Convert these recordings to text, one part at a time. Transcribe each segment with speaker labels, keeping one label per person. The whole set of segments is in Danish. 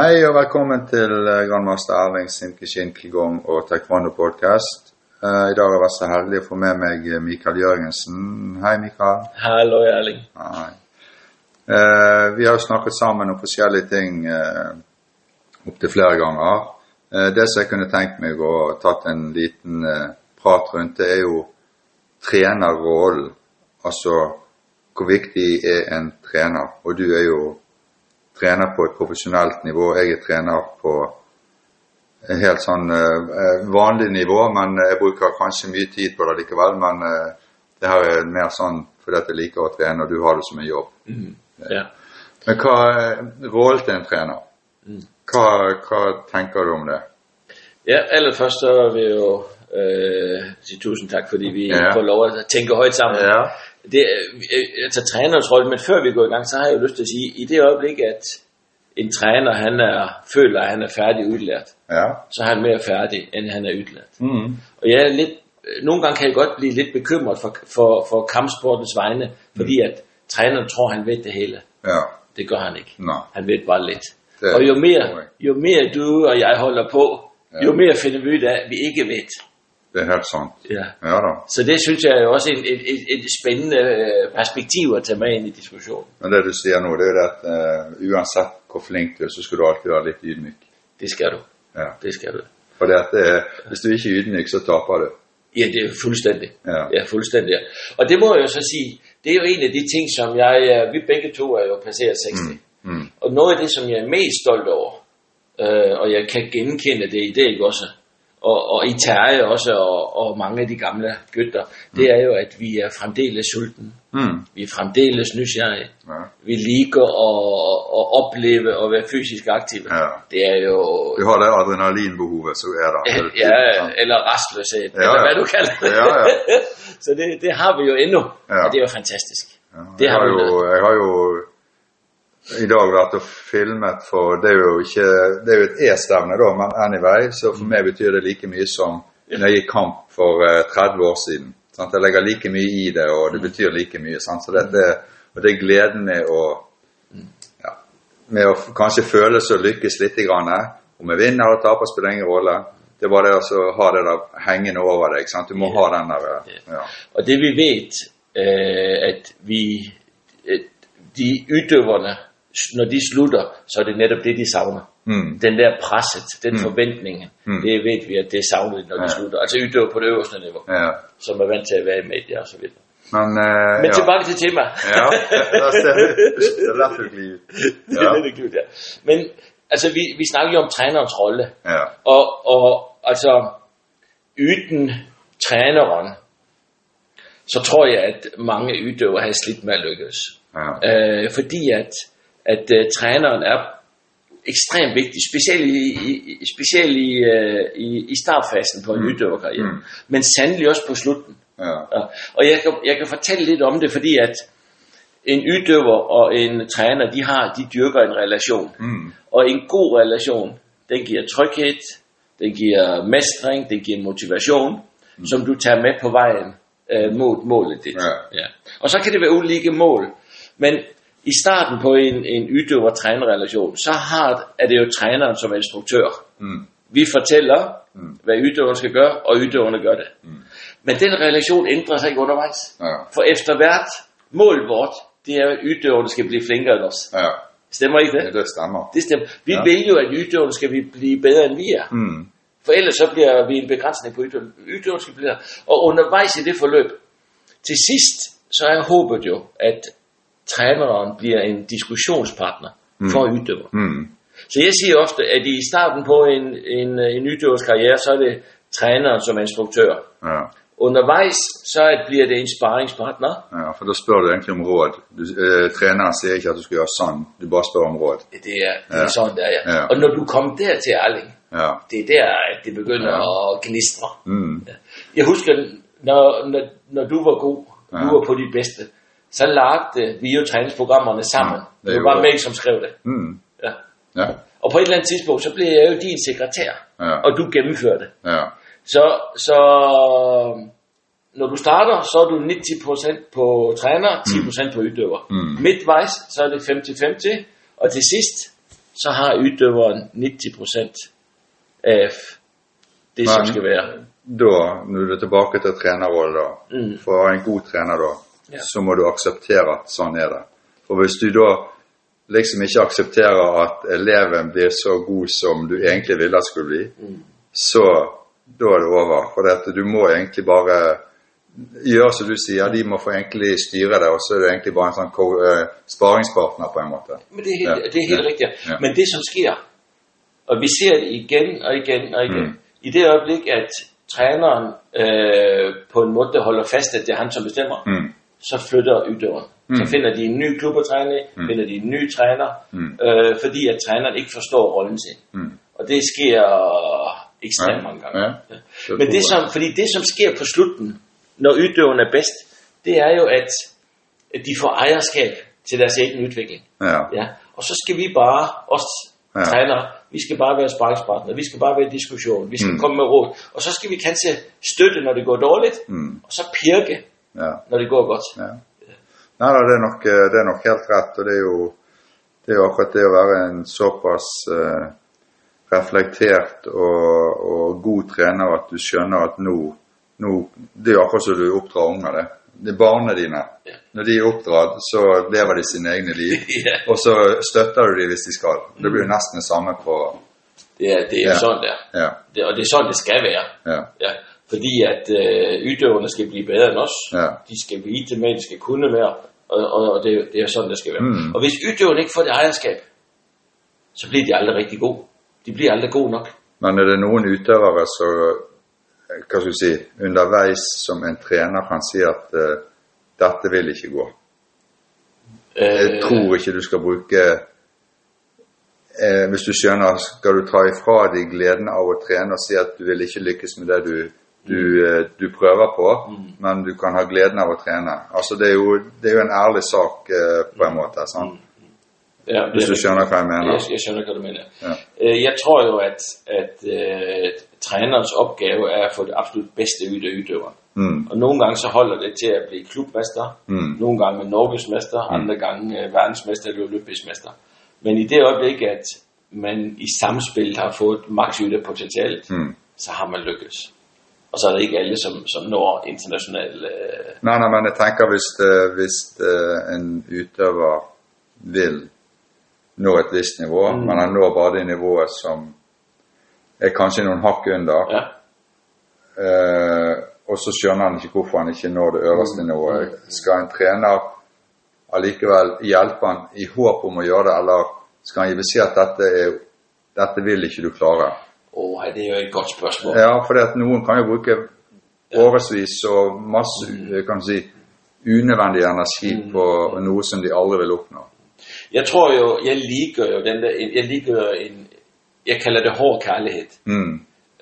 Speaker 1: Hei og velkommen til eh, Grandmaster Erling Sinkishin Qigong og Taekwondo Podcast. Eh, I dag har jeg vært så heldig å få med meg eh, Mikael Jørgensen. Hei, Mikael.
Speaker 2: Hallo Erling.
Speaker 1: Hei. Eh, vi har jo snakket sammen om forskjellige ting uh, opptil flere ganger. Eh, det som jeg kunne tenkt meg å tatt en liten eh, prat rundt, det er jo trenerrollen. Altså hvor viktig er en trener? Og du er jo trener på et profesjonelt nivå. Jeg er trener på et helt sånn eh, vanlig nivå, men jeg bruker kanskje mye tid på det likevel. Men eh, det her er mer sånn fordi at jeg liker å trene, og du har det som en jobb.
Speaker 2: Ja.
Speaker 1: Men hva er rollen til en trener?
Speaker 2: Mm.
Speaker 1: Hva, hva tenker du om det?
Speaker 2: ja, allerførst så vil jeg jo øh, sige tusind tak, fordi vi
Speaker 1: Ja.
Speaker 2: ja. får lov at tænke højt sammen.
Speaker 1: Ja.
Speaker 2: Det, øh, øh, altså trænerens rolle, men før vi går i gang, så har jeg jo lyst til at sige, i det øjeblik, at en træner han er, føler, at han er færdig udlært,
Speaker 1: Ja.
Speaker 2: så er han mere færdig, end han er udlært.
Speaker 1: Mm.
Speaker 2: Og jeg er lidt, øh, nogle gange kan jeg godt blive lidt bekymret for, for, for kampsportens vegne, fordi at træneren tror, han ved det hele.
Speaker 1: Ja.
Speaker 2: Det gør han ikke.
Speaker 1: Nå.
Speaker 2: Han ved bare lidt.
Speaker 1: Det-
Speaker 2: og jo mere,
Speaker 1: okay.
Speaker 2: jo mere du og jeg holder på,
Speaker 1: Ja.
Speaker 2: jo mere finder vi ud af, at vi ikke ved.
Speaker 1: Det er helt sant.
Speaker 2: Ja.
Speaker 1: Ja da.
Speaker 2: Så det synes jeg er jo også et, et, et, et spændende øh, perspektiv at tage med ind i diskussionen.
Speaker 1: Men det du sier nå, det er jo det at eh, uansett hvor flink du er, så skal du alltid være litt ydmyk.
Speaker 2: Det skal du.
Speaker 1: Ja.
Speaker 2: Det skal du.
Speaker 1: For det at det er, hvis du ikke er ydmyk, så taper du.
Speaker 2: Ja, det er jo fuldstændig.
Speaker 1: Ja.
Speaker 2: ja fuldstændig. ja. Og det må jeg jo så sige, det er jo en af de ting, som jeg, øh, vi begge to er jo passeret 60.
Speaker 1: Mm.
Speaker 2: Og noget af det, som jeg er mest stolt over, øh, og jeg kan genkende det i dag også, og, og i Terje også, og, og mange af de gamle gytter, det er jo, at vi er fremdeles sultne.
Speaker 1: Mm.
Speaker 2: Vi er fremdeles nysgerrige.
Speaker 1: Ja.
Speaker 2: Vi liker at, at opleve og være fysisk aktive.
Speaker 1: Ja.
Speaker 2: Det er jo...
Speaker 1: Du har det adrenalinbehovet som er der.
Speaker 2: Ja, eller restløshed,
Speaker 1: Ja,
Speaker 2: eller
Speaker 1: ja.
Speaker 2: hvad du kalder det.
Speaker 1: Ja, ja.
Speaker 2: Så det, det har vi jo endnu,
Speaker 1: Ja.
Speaker 2: og det er jo fantastisk.
Speaker 1: Ja,
Speaker 2: Det
Speaker 1: jeg,
Speaker 2: har
Speaker 1: har
Speaker 2: du
Speaker 1: jo, jeg har jo i dag vært og filmet for Det er jo, ikke, det er jo et E-stevne, da, men anyway. Så for meg betyr det like mye som når jeg gikk kamp for eh, 30 år siden. Sant? Jeg legger like mye i det, og det betyr like mye. Sant? Så det, det, og det er gleden med å ja, med å f- kanskje føle seg og lykkes litt. Grann, eh. om jeg vinner eller taper, spiller ingen rolle. Det er bare det å så ha det der hengende over deg. Sant? Du må ha den der eh, ja.
Speaker 2: Og det vi ved, øh, at vi, øh, de ydøverne, s- når de slutter, så er det netop det, de savner.
Speaker 1: Mm.
Speaker 2: Den der presset, den forventning,
Speaker 1: Mm.
Speaker 2: det ved vi, at det savner de, når de
Speaker 1: Ja.
Speaker 2: slutter. Altså ydøver på det øverste niveau,
Speaker 1: ja.
Speaker 2: som er vant til at være i medier og så videre.
Speaker 1: Men, eh,
Speaker 2: Men
Speaker 1: ja.
Speaker 2: tilbage til tema.
Speaker 1: Ja, da ser du det er lett å gli ut.
Speaker 2: det
Speaker 1: Ja.
Speaker 2: er lidt klart, ja. Men altså, vi, vi snakker jo om trænerens rolle.
Speaker 1: ja.
Speaker 2: Og, og altså, uden træneren, så tror jeg, at mange ydøver har slidt med at lykkes.
Speaker 1: Ja.
Speaker 2: Øh, fordi at, at uh, træneren er ekstremt vigtig, specielt i, i, i- specielt i, øh, i, i startfasen på en mm. ydøverkarriere,
Speaker 1: Mm.
Speaker 2: men sandelig også på slutten.
Speaker 1: Ja.
Speaker 2: Ja. Og jeg kan, jeg kan fortælle lidt om det, fordi at en ydøver og en træner, de har, de dyrker en relation.
Speaker 1: Mm.
Speaker 2: Og en god relation, den giver tryghed, den giver mestring, den giver motivation, mm. som du tager med på vejen øh, mod målet dit.
Speaker 1: Ja.
Speaker 2: Ja. Og så kan det være ulike mål, men i starten på en, en ydøver-trænerrelation, så har, er det jo træneren som instruktør.
Speaker 1: Mm.
Speaker 2: Vi fortæller,
Speaker 1: Mm.
Speaker 2: mm. hvad ydøveren skal gøre, og ydøverne gør det. Mm. Men den relation ændrer sig ikke undervejs.
Speaker 1: Ja.
Speaker 2: For efter hvert mål vort, det er, at ydøverne skal blive flinkere end os.
Speaker 1: ja.
Speaker 2: Stemmer ikke det?
Speaker 1: Det stemmer.
Speaker 2: Det stemmer. Vi
Speaker 1: Ja.
Speaker 2: ja. vil jo, at ydøven skal vi blive bedre, end vi er.
Speaker 1: Mm.
Speaker 2: For ellers så bliver vi en begrænsning på ydøven. Ydøven skal blive bedre. Og undervejs i det forløb, til sidst, så er håbet jo, at træneren bliver en diskussionspartner mm. for ydøver.
Speaker 1: Mm.
Speaker 2: Så jeg siger ofte, at i starten på en, en, øh, en ydøvers karriere, så er det træneren som er instruktør.
Speaker 1: Ja.
Speaker 2: Undervejs, så er- bliver det en sparringspartner.
Speaker 1: ja. For da spør du egentlig om råd. Du, eh, treneren sier ikke at du skal gjøre sånn, du bare spør om råd.
Speaker 2: Det er, det
Speaker 1: Ja.
Speaker 2: er sådan, der er.
Speaker 1: Ja.
Speaker 2: Og når du kommer dertil, Erling,
Speaker 1: Ja.
Speaker 2: det er der, at det begynder
Speaker 1: Ja.
Speaker 2: at gnistre.
Speaker 1: Mm.
Speaker 2: Jeg husker, når, når, når du var god, ja.
Speaker 1: Ja.
Speaker 2: du var på dit bedste, så lagde vi jo træningsprogrammerne sammen.
Speaker 1: Ja, det
Speaker 2: Ja, det
Speaker 1: gjorde
Speaker 2: var
Speaker 1: vi.
Speaker 2: mig, som skrev det.
Speaker 1: Mm.
Speaker 2: Ja.
Speaker 1: Ja.
Speaker 2: Og på et eller andet tidspunkt, så blev jeg jo din sekretær,
Speaker 1: Ja.
Speaker 2: og du gennemførte.
Speaker 1: Ja.
Speaker 2: Så, så når du starter, så er du 90% på træner, 10% på ydøver.
Speaker 1: Mm.
Speaker 2: Midtvejs, så er det 50-50, og til sidst, så har udøveren 90% af det, som
Speaker 1: Nej.
Speaker 2: skal være.
Speaker 1: Da, når du er tilbake til trenerrollen, da,
Speaker 2: Mm.
Speaker 1: for å være en god trener da,
Speaker 2: Ja.
Speaker 1: så må du akseptere at sånn er det. For hvis du da liksom ikke aksepterer at eleven blir så god som du egentlig ville at skulle bli,
Speaker 2: Mm.
Speaker 1: så da er det over. For dette, du må egentlig bare gjøre som du sier, de må få egentlig styre det, og så er du egentlig bare en sånn ko- eh, sparingspartner på en måte.
Speaker 2: Men det er helt,
Speaker 1: Ja.
Speaker 2: det er helt
Speaker 1: Ja.
Speaker 2: rigtigt.
Speaker 1: Ja.
Speaker 2: Men det, som sker, og vi ser det igen og igen og igen,
Speaker 1: Mm.
Speaker 2: i det øjeblik, at træneren øh, på en måde holder fast, at det er han, som bestemmer,
Speaker 1: Mm.
Speaker 2: så flytter ydøveren. Mm. Så
Speaker 1: Mm.
Speaker 2: finder de en ny klub at træne i, mm. finder de en ny træner,
Speaker 1: Mm.
Speaker 2: øh, fordi at træneren ikke forstår rollen sin.
Speaker 1: Mm.
Speaker 2: Og det sker ekstremt
Speaker 1: Ja,
Speaker 2: mange gange.
Speaker 1: ja.
Speaker 2: Ja.
Speaker 1: Det
Speaker 2: Men
Speaker 1: tror
Speaker 2: det
Speaker 1: jeg.
Speaker 2: som, fordi det, som sker på slutten, når ydøveren er bedst, det er jo, at at de får ejerskab til deres egen udvikling.
Speaker 1: Ja.
Speaker 2: Ja. Og så skal vi bare, os
Speaker 1: Ja.
Speaker 2: trænere, vi skal bare være sparringspartner, vi skal bare være i diskussion, vi skal
Speaker 1: Mm.
Speaker 2: mm. komme med råd. Og så skal vi kanskje støtte, når det går dårligt,
Speaker 1: Mm.
Speaker 2: og så pirke,
Speaker 1: ja.
Speaker 2: når det går godt.
Speaker 1: Ja. Nei da, det er, nok, eh, det er nok helt rett. Og det er jo, det er jo akkurat det å være en såpass eh, reflektert og, og god trener at du skjønner at nå, nå Det er jo akkurat som du oppdrar unger, det. Det er barna dine.
Speaker 2: Ja.
Speaker 1: Når de er oppdratt, så lever de sine egne liv.
Speaker 2: Ja. Mm.
Speaker 1: Og så støtter du dem hvis de skal. Det blir jo nesten det samme på
Speaker 2: Det er, det er
Speaker 1: Ja.
Speaker 2: ja. sådan, der.
Speaker 1: Ja.
Speaker 2: Det, og det er sådan, det skal være.
Speaker 1: ja.
Speaker 2: Ja. Fordi at øh, ydøverne skal blive bedre end os.
Speaker 1: Ja.
Speaker 2: De skal vite mere, de skal kunne mere, og, og, og det, det er sådan, det skal være.
Speaker 1: Mm.
Speaker 2: Og hvis ydøverne ikke får det ejerskab, så bliver de aldrig rigtig gode. De bliver aldrig gode nok.
Speaker 1: Men er det noen utøvere så, eh, hva skal du si, underveis som en trener kan si at eh, dette vil ikke gå?
Speaker 2: Øh,
Speaker 1: Jeg tror ikke du skal bruke eh, Hvis du skjønner, skal du ta ifra deg gleden av å trene og si at du vil ikke lykkes med det du, du, eh, du prøver på, men du kan ha gleden av å trene. Altså, det er jo, det er jo en ærlig sak eh, på en måte, sant?
Speaker 2: ja,
Speaker 1: hvis du skjønner hva jeg
Speaker 2: Jeg,
Speaker 1: mener.
Speaker 2: jeg skjønner ikke, hvad du mener.
Speaker 1: Ja.
Speaker 2: Øh, Jeg tror jo, at, at øh, trænerens opgave er at få det absolut bedste ud af udøveren.
Speaker 1: Mm,
Speaker 2: Og nogle gange så holder det til at blive klubmester,
Speaker 1: Mm.
Speaker 2: nogle gange er norgesmester, mm. andre gange øh, verdensmester eller olympisk mester. Men i det øjeblik, at man i samspillet har fået maks ud af potentialet,
Speaker 1: mm.
Speaker 2: så har man lykkes. Og så er det ikke alle, som, som når international... Øh,
Speaker 1: Nei, nei, men jeg tenker hvis, det, hvis det, en utøver vil nå et visst nivå,
Speaker 2: Mm.
Speaker 1: men han når bare det nivået som er kanskje noen hakk under,
Speaker 2: ja.
Speaker 1: Eh, og så skjønner han ikke hvorfor han ikke når det øverste nivået. Skal en trener allikevel hjelpe han i håp om å gjøre det, eller skal han gi beskjed at dette, er, dette vil ikke du klare?
Speaker 2: Åh, det er jo et godt spørgsmål.
Speaker 1: Ja, for at noen kan jo bruke årevis og masse eh, kan du si, unødvendig energi på noe som de aldri vil oppnå.
Speaker 2: Jeg tror jo, jeg liker jo den der, jeg liker en, jeg kalder det hård kærlighed.
Speaker 1: Mm.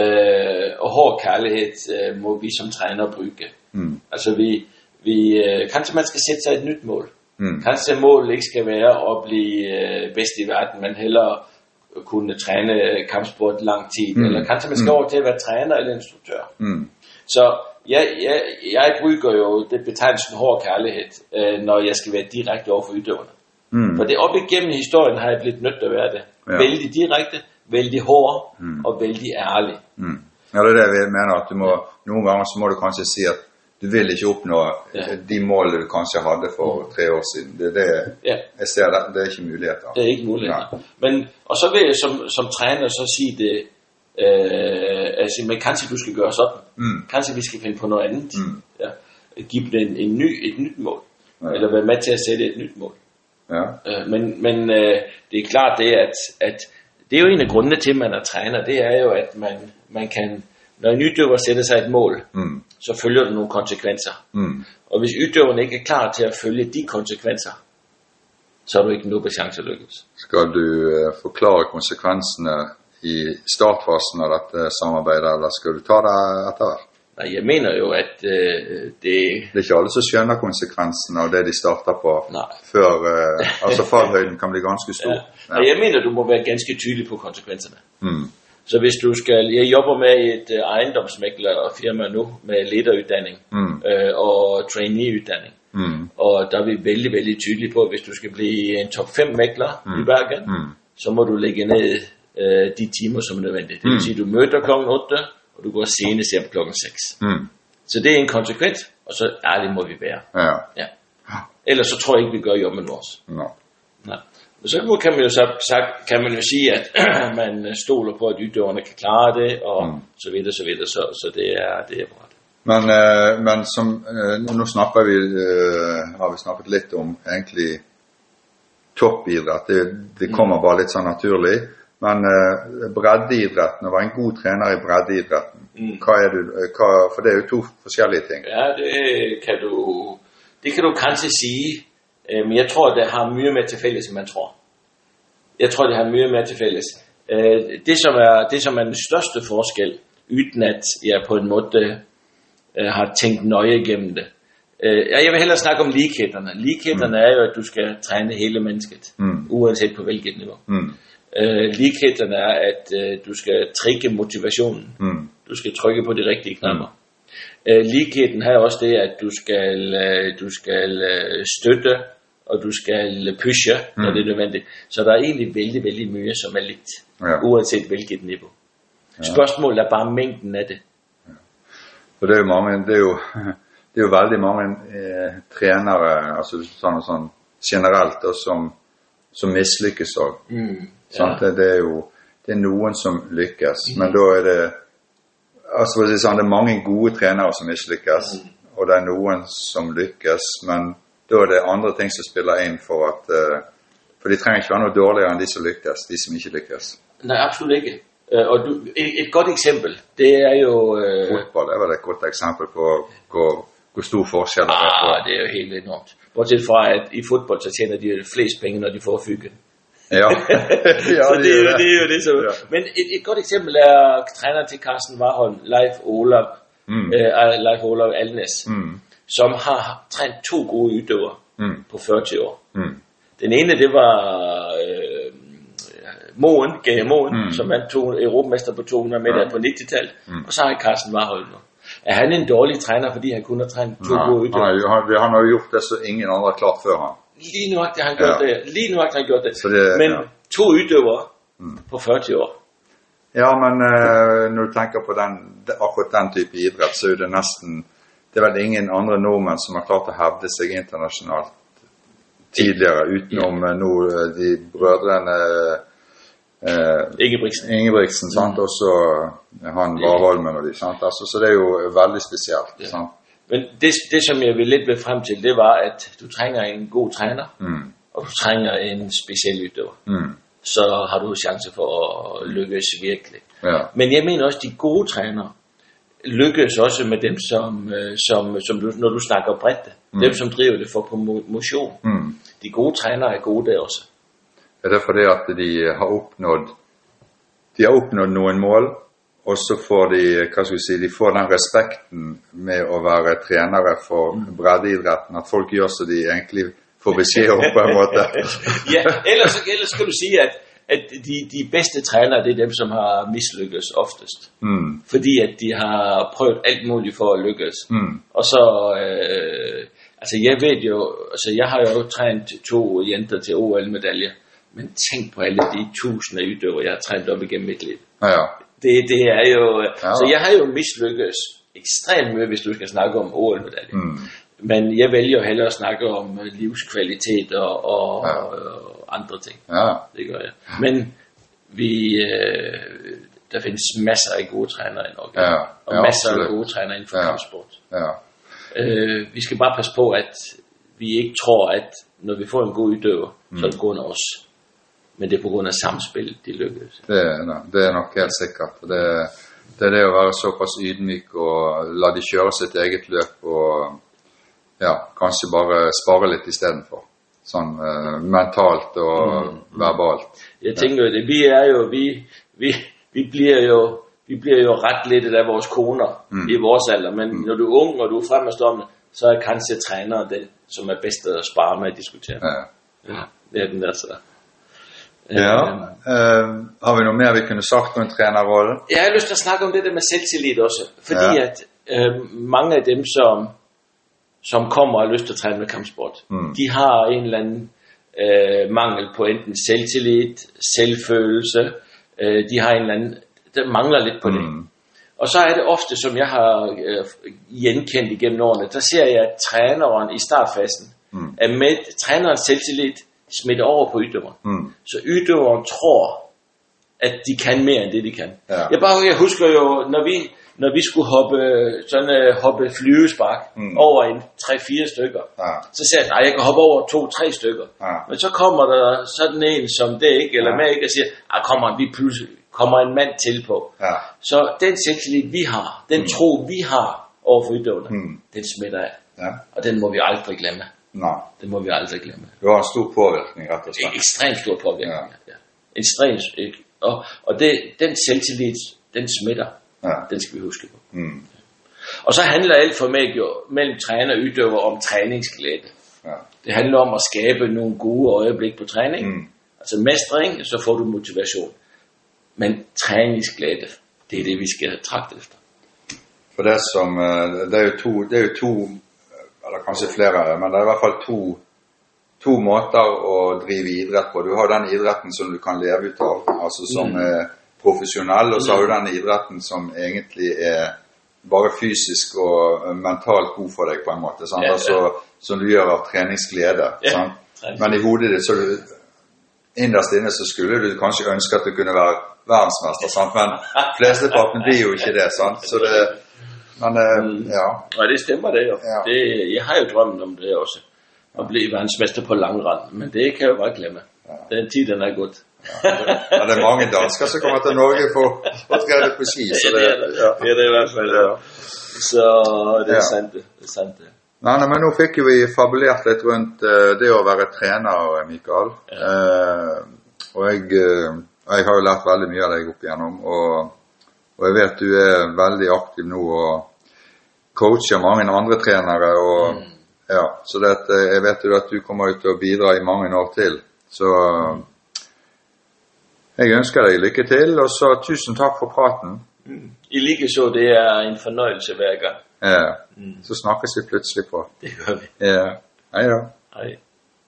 Speaker 2: Øh, og hård kærlighed øh, må vi som træner bruge.
Speaker 1: Mm.
Speaker 2: Altså vi, vi øh, kanskje man skal sætte sig et nyt mål.
Speaker 1: Mm.
Speaker 2: Kanskje målet ikke skal være at blive øh, bedst i verden, men hellere kunne træne øh, kampsport lang tid.
Speaker 1: Mm.
Speaker 2: Mm. Eller kanskje man skal over til at være træner eller instruktør.
Speaker 1: Mm.
Speaker 2: Så jeg, jeg, jeg bruger jo det betegnelsen hård kærlighed, øh, når jeg skal være direkte over for udøverne.
Speaker 1: Mm.
Speaker 2: For det op igennem historien har jeg blivet nødt til at være det.
Speaker 1: Ja.
Speaker 2: Ja. Vældig direkte, vældig hård mm. og vældig ærlig.
Speaker 1: Mm. Ja, det er det vi mener, at du må, noen ganger så må du kanskje si at du vil ikke oppnå
Speaker 2: Ja.
Speaker 1: eh, de målene du kanskje hadde for tre år siden. Det, er det,
Speaker 2: Ja,
Speaker 1: jeg ser det, det er ikke muligheter.
Speaker 2: det er ikke muligt.
Speaker 1: Nej.
Speaker 2: Men, og så vil jeg som, som træner så sige det, øh, altså, men kanskje du skal gøre sådan.
Speaker 1: Mm.
Speaker 2: Kanskje vi skal finde på noget andet.
Speaker 1: Mm.
Speaker 2: Ja. Give dem en, en ny, et nyt mål.
Speaker 1: Ja.
Speaker 2: Ja. Eller være med til at sætte et nyt mål.
Speaker 1: Ja.
Speaker 2: Øh, men men øh, det er klart det, at, at det er jo en af grundene til, at man er træner, det er jo, at man, man kan, når en nydykker sætter sig et mål,
Speaker 1: Mm.
Speaker 2: så følger der nogle konsekvenser.
Speaker 1: Mm.
Speaker 2: Og hvis ydøveren ikke er klar til at følge de konsekvenser, så har du ikke nogen chance at lykkes.
Speaker 1: Skal du eh, forklare konsekvensene i startfasen av dette samarbeidet, eller skal du ta det etter hvert?
Speaker 2: Nej, jeg mener jo, at øh, det...
Speaker 1: Det er ikke alle som skjønner konsekvensen av det de starter på,
Speaker 2: Nej.
Speaker 1: før eh, altså fallhøyden kan bli ganske stor.
Speaker 2: Ja. Og jeg mener, du må være ganske tydelig på konsekvenserne.
Speaker 1: Mm.
Speaker 2: Så hvis du skal... Jeg jobber med et øh, ejendomsmæklerfirma nu med lederuddannelse
Speaker 1: Mm.
Speaker 2: øh, og traineeuddannelse.
Speaker 1: Mm.
Speaker 2: Og der er vi vældig, vældig tydelige på, at hvis du skal blive en top 5 mækler mm. i Bergen,
Speaker 1: Mm.
Speaker 2: så må du lægge ned øh, de timer, som er nødvendige. Det vil sige, at du møder klokken 8, og du går senest hjem klokken 6.
Speaker 1: Mm.
Speaker 2: Så det er en konsekvens, og så ærlig må vi være.
Speaker 1: Ja.
Speaker 2: Ja. Ellers så tror jeg ikke, vi gør jobben vores.
Speaker 1: Nå.
Speaker 2: Nej. Men så kan man jo, så, så kan man jo sige, at man stoler på, at ytterne kan klare det, og
Speaker 1: Mm.
Speaker 2: mm. så videre, så videre. Så, så det er, det er bra.
Speaker 1: Men, eh, men som eh, Nå snakker vi eh, Har vi snakket litt om egentlig toppidrett. Det, det kommer bare litt sånn naturlig. Men eh, breddeidretten, å være en god trener i breddeidretten
Speaker 2: Mm.
Speaker 1: hva er det, eh, hva, For det er jo to forskjellige ting.
Speaker 2: Ja, det kan du, det kan du kanskje sige, øh, men jeg tror, det har mye mere til fælles, end man tror. Jeg tror, det har mye mere til fælles. Øh, Det som, er, det, som er den største forskel, uden at jeg på en måde øh, har tænkt nøje igennem det. Øh, ja, Jeg vil hellere snakke om lighederne. Lighederne mm. er jo, at du skal træne hele mennesket,
Speaker 1: Mm.
Speaker 2: uanset på hvilket niveau.
Speaker 1: Mm.
Speaker 2: Øh, lighederne er, at øh, du skal trigge motivationen.
Speaker 1: Mm.
Speaker 2: Du skal trykke på de rigtige knapper. Øh, ligheden her er også det, at du skal, øh, du skal øh, støtte, og du skal øh, pushe, når
Speaker 1: Mm.
Speaker 2: det er nødvendigt. Så der er egentlig vældig, vældig mye, som er lidt,
Speaker 1: Ja.
Speaker 2: uanset hvilket niveau. Spørgsmålet er bare mængden af det.
Speaker 1: For det er jo mange, det er jo, det er jo veldig mange eh, trenere, altså sånn, sånn generelt, og som, som mislykkes òg.
Speaker 2: Mm.
Speaker 1: Sant? Det, det er jo det er noen som lykkes,
Speaker 2: Mhm.
Speaker 1: men da er det altså for å si sånn, Det er mange gode trenere som mislykkes,
Speaker 2: Mhm.
Speaker 1: og det er noen som lykkes, men da er det andre ting som spiller inn for at eh, For de trenger ikke være noe dårligere enn de som lykkes, de som ikke lykkes.
Speaker 2: Nej, absolut ikke. Øh, og du, et, et godt eksempel, det er jo... Øh,
Speaker 1: Fotball er vel et godt eksempel på hvor, hvor stor forskjell det er. på-
Speaker 2: ah, det er jo helt enormt. Bortset fra, at i fodbold, så tjener de jo flest penge, når de får fyke.
Speaker 1: Ja. ja
Speaker 2: så det, er jo, det er jo det, så.
Speaker 1: Ja.
Speaker 2: Ja. Men et, et godt eksempel er træner til Carsten Warholm, Leif Olaf,
Speaker 1: Mm.
Speaker 2: mm. øh, Leif Olaf Alnes, mm.
Speaker 1: Mm,
Speaker 2: som har trænet to gode ytøver
Speaker 1: mm,
Speaker 2: på 40 år.
Speaker 1: mm,
Speaker 2: Den ene, det var øh, Moen, Gage Moen,
Speaker 1: Mm.
Speaker 2: mm. som vandt to, europamester på 200 meter
Speaker 1: Ja.
Speaker 2: på 90-tallet,
Speaker 1: Mm.
Speaker 2: mm. og så har Carsten Warholm nu. Er han en dårlig træner, fordi han kun har trænet to
Speaker 1: Nei,
Speaker 2: gode
Speaker 1: han,
Speaker 2: ytøver?
Speaker 1: Ah, har jo- han, han har jo gjort det som ingen andre har klart før han.
Speaker 2: Lige nu har han gjort
Speaker 1: Ja.
Speaker 2: det. Lige nu har han gjort det.
Speaker 1: Så det-
Speaker 2: Men
Speaker 1: ja.
Speaker 2: to ytøver mm. på 40 år.
Speaker 1: Ja, men eh, når du tenker på den, de- akkurat den type idrett, så er det nesten Det er vel ingen andre nordmenn som har klart å hevde seg internasjonalt tidligere, utenom eh, nå eh, de brødrene eh,
Speaker 2: Ingebrigtsen.
Speaker 1: Ingebrigtsen, sant, og så han Warholmen og de, sant. Altså, så det er jo veldig spesielt.
Speaker 2: Ja.
Speaker 1: sant?
Speaker 2: Men det, det, som jeg vil lidt vil frem til, det var, at du trænger en god træner,
Speaker 1: Mm,
Speaker 2: og du trænger en speciel ytøver.
Speaker 1: mm,
Speaker 2: Så har du chance for at lykkes virkelig.
Speaker 1: ja.
Speaker 2: Men jeg mener også, at de gode trænere lykkes også med dem, som, øh, som, som du, når du snakker bredt. Mm. Dem, som driver det for på mo- motion.
Speaker 1: Mm.
Speaker 2: De gode trænere er gode der også.
Speaker 1: Er det fordi at de har oppnådd de har oppnådd noen mål, og så får de hva skal vi si, de får den respekten med å være trenere for breddeidretten, at folk gjør som de egentlig får beskjed om, på en måte.
Speaker 2: ja, ellers, ellers skal du sige, at, at de, de bedste trænere, det er dem, som har mislykkes oftest.
Speaker 1: Mm,
Speaker 2: Fordi at de har prøvet alt muligt for at lykkes.
Speaker 1: mm,
Speaker 2: Og så, øh, altså jeg ved jo, altså jeg har jo trænet to jenter til OL-medaljer. Men tænk på alle de tusinder af ytøver, jeg har trænet op igennem mit liv.
Speaker 1: ja, ja.
Speaker 2: Det, det er jo, øh,
Speaker 1: Ja.
Speaker 2: så jeg har jo mislykkes ekstremt meget, hvis du skal snakke om OL-medaljer.
Speaker 1: Mm,
Speaker 2: Men jeg vælger hellere at snakke om øh, livskvalitet og, og,
Speaker 1: Ja.
Speaker 2: og andre ting.
Speaker 1: ja.
Speaker 2: Det gør jeg. Men vi, øh, der findes masser af gode trænere i Norge.
Speaker 1: Ja,
Speaker 2: og
Speaker 1: ja,
Speaker 2: masser
Speaker 1: absolut.
Speaker 2: af gode trænere inden for
Speaker 1: Ja.
Speaker 2: ja. kampsport.
Speaker 1: ja.
Speaker 2: Øh, vi skal bare passe på, at vi ikke tror, at når vi får en god udøver, mm. så er det på grund af os. Men det er på grund af samspillet, de lykkes.
Speaker 1: Det, er det. det er nok helt sikkert. Det, det er det å være såpass ydmyk og la de kjøre sitt eget løp og ja, kanskje bare spare litt istedenfor. Sånn eh, mentalt og verbalt.
Speaker 2: Jeg tænker jo, det, vi er jo, vi, vi, vi bliver jo, vi bliver jo ret lidt af vores koner
Speaker 1: Mm.
Speaker 2: mm. i vores alder, men mm. når du er ung og du er fremadstormende, så er kanskje træneren den, som er bedst at spare med at diskutere.
Speaker 1: Ja.
Speaker 2: Ja, det er den der så.
Speaker 1: ja.
Speaker 2: Øhm,
Speaker 1: Eh, har vi noe mer vi kunne sagt om trenerrollen?
Speaker 2: Jeg har lyst til at snakke om det der med selvtillit også, fordi
Speaker 1: Ja.
Speaker 2: ja. at øh, mange af dem, som, som kommer og har lyst til at træne med kampsport,
Speaker 1: Mm.
Speaker 2: de har en eller anden øh, mangel på enten selvtillid, selvfølelse. Øh, de har en eller anden, der mangler lidt på det.
Speaker 1: Mm.
Speaker 2: Og så er det ofte, som jeg har øh, genkendt igennem årene, der ser jeg, at træneren i startfasen mm. er med trænerens selvtillid smidt over på yddømmeren.
Speaker 1: Mm.
Speaker 2: Så yddømmeren tror, at de kan mere end det, de kan.
Speaker 1: Ja.
Speaker 2: Jeg, bare, jeg husker jo, når vi, når vi skulle hoppe, sådan, øh, hoppe flyvespark
Speaker 1: Mm.
Speaker 2: mm. over en 3-4 stykker,
Speaker 1: Ja.
Speaker 2: så sagde jeg, nej, jeg kan hoppe over 2-3 stykker.
Speaker 1: Ja.
Speaker 2: Men så kommer der sådan en som det ikke, eller
Speaker 1: Ja.
Speaker 2: ja. med ikke, og siger, ah, kommer, vi pludselig, kommer en mand til på.
Speaker 1: Ja.
Speaker 2: Så den selvtillid, vi har, den mm. tro, vi har over for yddømmerne,
Speaker 1: Mm.
Speaker 2: mm. den smitter af.
Speaker 1: ja.
Speaker 2: Og den må vi aldrig glemme.
Speaker 1: Nei.
Speaker 2: Den må vi aldrig glemme.
Speaker 1: Du har en stor påvirkning, rett og
Speaker 2: Det er
Speaker 1: slett.
Speaker 2: ekstremt stor påvirkning. Ja. Ja. Ekstremt, ikke? og, og det, den selvtillid, den smitter.
Speaker 1: Ja.
Speaker 2: Den skal vi huske på.
Speaker 1: Mm.
Speaker 2: Og så handler alt for mig jo mellem træner og yddøver om træningsglæde.
Speaker 1: Ja.
Speaker 2: Det handler om at skabe nogle gode øjeblik på træning.
Speaker 1: Mm.
Speaker 2: Mm. Altså mestring, så får du motivation. Men træningsglæde, det er det, vi skal trakte efter.
Speaker 1: For det som eh, Det er jo to, det er jo to Eller kanskje flere, men det er i hvert fall to to måter å drive idrett på. Du har den idretten som du kan leve ut av, altså som
Speaker 2: Mm.
Speaker 1: er profesjonell, og så har du
Speaker 2: Mm.
Speaker 1: den idretten som egentlig er bare fysisk og eh, mentalt god for deg, på en måte. Sant?
Speaker 2: Ja, ja.
Speaker 1: Altså, som du gjør av treningsglede.
Speaker 2: Ja,
Speaker 1: Sant?
Speaker 2: treningsglede.
Speaker 1: Men i hodet ditt så er du innerst inne så skulle du kanskje ønske at du kunne være verdensmester, sant? men flesteparten blir jo ikke det. sant? Så det, men eh,
Speaker 2: Mm.
Speaker 1: ja.
Speaker 2: Og det stemmer det jo.
Speaker 1: Ja.
Speaker 2: Det, jeg har jo drømmen om det også. At blive verdensmester på langrand. Men det kan jeg jo bare glemme. Den tid, den er gået.
Speaker 1: Men det er mange dansker som kommer til Norge for å trene på ski.
Speaker 2: Ja,
Speaker 1: så
Speaker 2: det er det.
Speaker 1: ja.
Speaker 2: Det er det i hvert fald.
Speaker 1: Ja.
Speaker 2: Så det er
Speaker 1: Ja.
Speaker 2: sandt det. Det er sandt det.
Speaker 1: Nei, nei, men nå fikk jo vi fabulert litt rundt eh, det å være trener, Mikael. Eh, og jeg, eh, jeg har jo lært veldig mye av deg opp igjennom, og, og jeg vet du er veldig aktiv nå og coacher mange andre trenere. Og, ja, så det, at, eh, jeg vet jo at du kommer jo til å bidra i mange år til. Så jeg ønsker deg lykke til, og så tusen takk for praten.
Speaker 2: I lige så, det er en fornøjelse hver gang.
Speaker 1: Eh, Så snakkes vi plutselig på.
Speaker 2: Det gør vi.
Speaker 1: Eh, hei da.
Speaker 2: Hej.